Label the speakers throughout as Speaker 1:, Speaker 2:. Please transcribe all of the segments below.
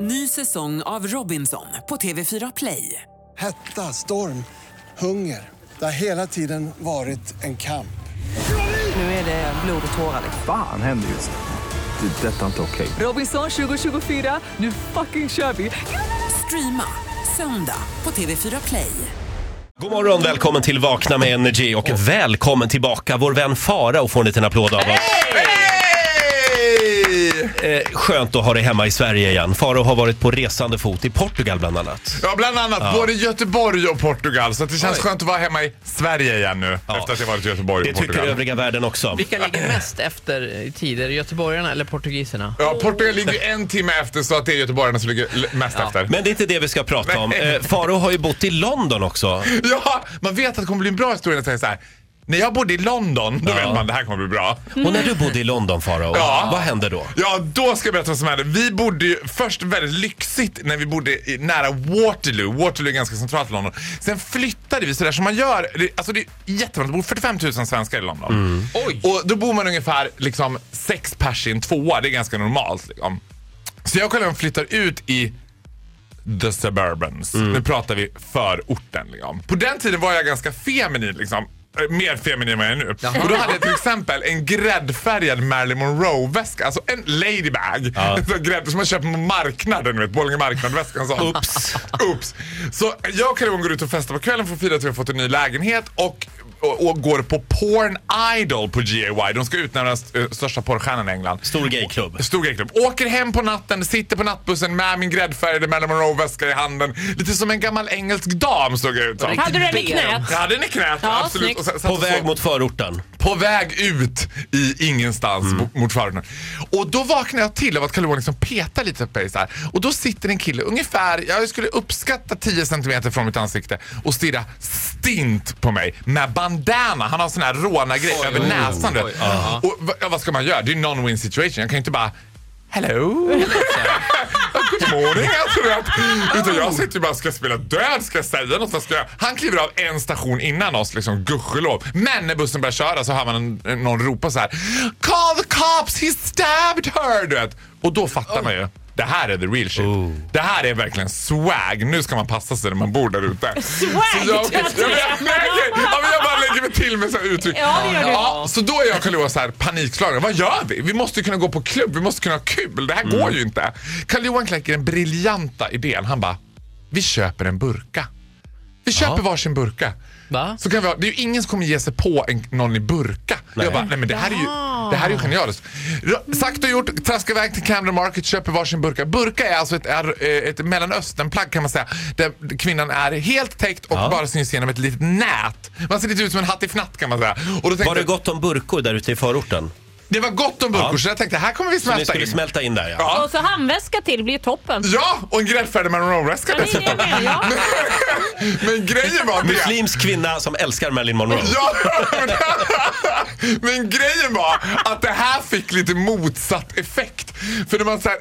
Speaker 1: Ny säsong av Robinson på TV4 Play.
Speaker 2: Hetta, storm, hunger. Det har hela tiden varit en kamp.
Speaker 1: Nu är det blod och tårar. liksom.
Speaker 3: Fan händer just nu. Det. är Detta är inte okej.
Speaker 1: Robinson 2024, nu fucking kör vi! Streama söndag på TV4 Play.
Speaker 4: God morgon, välkommen till Vakna med Energy och välkommen tillbaka vår vän Farao får en liten applåd av oss. Eh, Skönt att ha dig hemma i Sverige igen. Farao har varit på resande fot i Portugal bland annat.
Speaker 5: Ja, bland annat både Göteborg och Portugal. Så att det känns skönt att vara hemma i Sverige igen nu efter att jag varit i Göteborg
Speaker 4: Det
Speaker 5: och
Speaker 4: tycker
Speaker 5: Portugal.
Speaker 4: övriga världen också.
Speaker 6: Vilka ligger mest efter i tider? Göteborgarna eller portugiserna?
Speaker 5: Ja, Portugal ligger ju en timme efter så att det är göteborgarna som ligger l- mest efter.
Speaker 4: Men det är inte det vi ska prata om.
Speaker 5: Nej.
Speaker 4: Eh, Farao har ju bott i London också.
Speaker 5: Ja, man vet att det kommer bli en bra historia när jag säger så här. När jag bodde i London, då vet man det här kommer bli bra.
Speaker 4: Och när du bodde i London Farao,
Speaker 5: Ja.
Speaker 4: vad hände då?
Speaker 5: Ja, då ska jag berätta vad som hände. Vi bodde ju först väldigt lyxigt när vi bodde i, nära Waterloo. Waterloo är ganska centralt i London. Sen flyttade vi sådär som man gör. Det, alltså det är jättevanligt. Det bor 45 000 svenskar i London.
Speaker 4: Mm.
Speaker 5: Och då bor man ungefär liksom, sex pers i en tvåa. Det är ganska normalt. Liksom. Så jag och Carl-Johan flyttar ut i the suburbans. Nu pratar vi förorten. Liksom. På den tiden var jag ganska feminin. Liksom. Eh, Mer feminin än vad jag är nu. Och då hade jag till exempel en gräddfärgad Marilyn Monroe-väska. Alltså en ladybag. En sån grädd som man köper på marknaden. Du vet, Borlänge marknad-väskan. sån.
Speaker 4: Oops.
Speaker 5: Oops. Så jag och Karin går ut och festar på kvällen för att fira att vi har fått en ny lägenhet och, och, och går på Porn Idol på GAY. De ska utnämna den största porrstjärnan i England.
Speaker 4: Stor gayklubb.
Speaker 5: Stor gayklubb. Åker hem på natten, sitter på nattbussen med min gräddfärgade Marilyn Monroe-väska i handen. Lite som en gammal engelsk dam såg jag ut som.
Speaker 7: Hade du den i knät?
Speaker 5: Ja, den är knät.
Speaker 7: Ja,
Speaker 5: absolut.
Speaker 7: snyggt.
Speaker 5: Och sen satt
Speaker 4: På
Speaker 5: och så-
Speaker 4: väg mot förorten.
Speaker 5: på väg ut i ingenstans mot- mot förorten. Och då vaknar jag till av att Carl-Johan liksom petar lite på mig så här. Och då sitter en kille ungefär, jag skulle uppskatta 10 centimeter från mitt ansikte och stirrar stint på mig med bandana. Han har sån här rånargrej över näsan. du vet. Och va- ja, vad ska man göra? Det är en non-win situation. Jag kan ju inte bara Hello! Good morning! Alltså, du vet. Utan jag sitter ju bara, ska jag spela död? Ska jag säga något? Vad ska jag? Han kliver av en station innan oss, liksom, gudskelov. Men när bussen börjar köra så hör man en, någon ropa så här. Call the cops! He stabbed her! Du vet. Och då fattar man ju. Det här är the real shit. Det här är verkligen swag. Nu ska man passa sig när man bor där ute.
Speaker 7: Swag,
Speaker 5: Så Jag,
Speaker 7: tror
Speaker 5: jag,
Speaker 7: jag
Speaker 5: jag, nej, nej, ja, men jag bara lägger mig till med så här uttryck.
Speaker 7: Ja, det gör du.
Speaker 5: Ja, så då är jag och Carl-Johan så här panikslagna. Vad gör vi? Vi måste ju kunna gå på klubb, vi måste kunna ha kul. Det här går ju inte. Carl-Johan kläcker den briljanta idén. Han bara, vi köper en burka. Vi köper varsin burka.
Speaker 6: Va?
Speaker 5: Så kan vi ha, det är ju ingen som kommer ge sig på en, någon i burka. Jag bara, nej men det här är ju, det här är ju genialiskt. Ra- Sagt och gjort, traskar iväg till Camden Market, köper varsin burka. Burka är alltså ett, är, eh, ett mellanösternplagg kan man säga. Där kvinnan är helt täckt och bara syns genom ett litet nät. Man ser lite ut som en hattifnatt kan man säga. Och då tänkte,
Speaker 4: Var det
Speaker 5: jag-
Speaker 4: gott om burkor där ute i förorten?
Speaker 5: det var gott om burkor
Speaker 4: Ja.
Speaker 5: så jag tänkte här kommer vi
Speaker 4: Så ni
Speaker 5: smälta
Speaker 4: skulle
Speaker 5: in.
Speaker 4: smälta in där ja.
Speaker 5: Ja.
Speaker 7: Och så handväska till blir toppen.
Speaker 5: Ja, och en gräddfärdig Monroe-väska
Speaker 7: Ja, det är
Speaker 5: dessutom.
Speaker 7: det med, ja.
Speaker 5: Men grejen var det.
Speaker 4: Muslimsk kvinna som älskar Marilyn Monroe.
Speaker 5: Ja, men, men grejen var att det här fick lite motsatt effekt. För när man så här,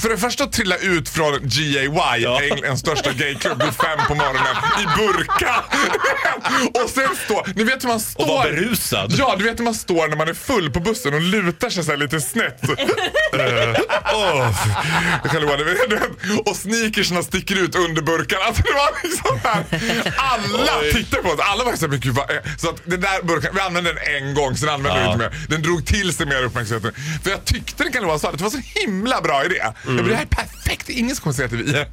Speaker 5: för det första trilla ut från GAY,
Speaker 4: Ja.
Speaker 5: Englands största gayklubb, vid fem på morgonen i burka. Och sen stå, ni vet hur man står.
Speaker 4: Och var berusad.
Speaker 5: Ja, du vet hur man står när man är full på bussen och lutar sig så här lite snett. Eh, åh, jag kan lova dig, du vet. och sneakersna sticker ut under burkarna. Alltså, det var liksom så här. Alla tittade på oss. Alla var så här, men gud vad... är-" Så att den där burkan, vi använde den en gång, sen använde vi
Speaker 4: Ja.
Speaker 5: inte mer. Den drog till sig mer uppmärksamhet. För jag tyckte, det kan lova, sa att det var så himla bra idé. Jag bara, det här är perfekt, ingen som kommer säga att vi är...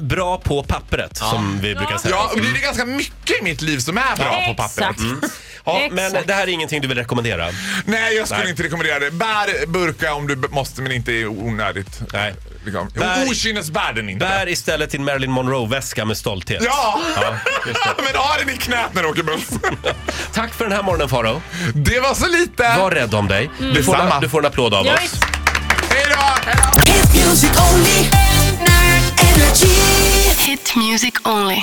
Speaker 4: Bra på pappret som vi brukar säga.
Speaker 5: Ja, och det är ganska mycket i mitt liv som är bra på Mm. papperet.
Speaker 7: Exakt.
Speaker 4: Ja,
Speaker 7: Exakt.
Speaker 4: men det här är ingenting du vill rekommendera?
Speaker 5: Nej, jag skulle
Speaker 4: Nej.
Speaker 5: inte rekommendera det. Bär burka om du b- måste, men inte i onödigt.
Speaker 4: Nej.
Speaker 5: Liksom.
Speaker 4: Bär-
Speaker 5: Okynnesbär den inte.
Speaker 4: Bär istället din Marilyn Monroe-väska med stolthet.
Speaker 5: Ja!
Speaker 4: Ja, just det.
Speaker 5: men ha den i knät när du åker buss.
Speaker 4: Tack för den här morgonen Faro.
Speaker 5: det var så lite.
Speaker 4: Var rädd om dig. Du, får en,
Speaker 5: Detsamma.
Speaker 4: du får en applåd av
Speaker 7: Jag
Speaker 4: oss.
Speaker 7: är
Speaker 5: Hej då! Hej då!
Speaker 8: Hit music only. Energy.
Speaker 9: Hit music only.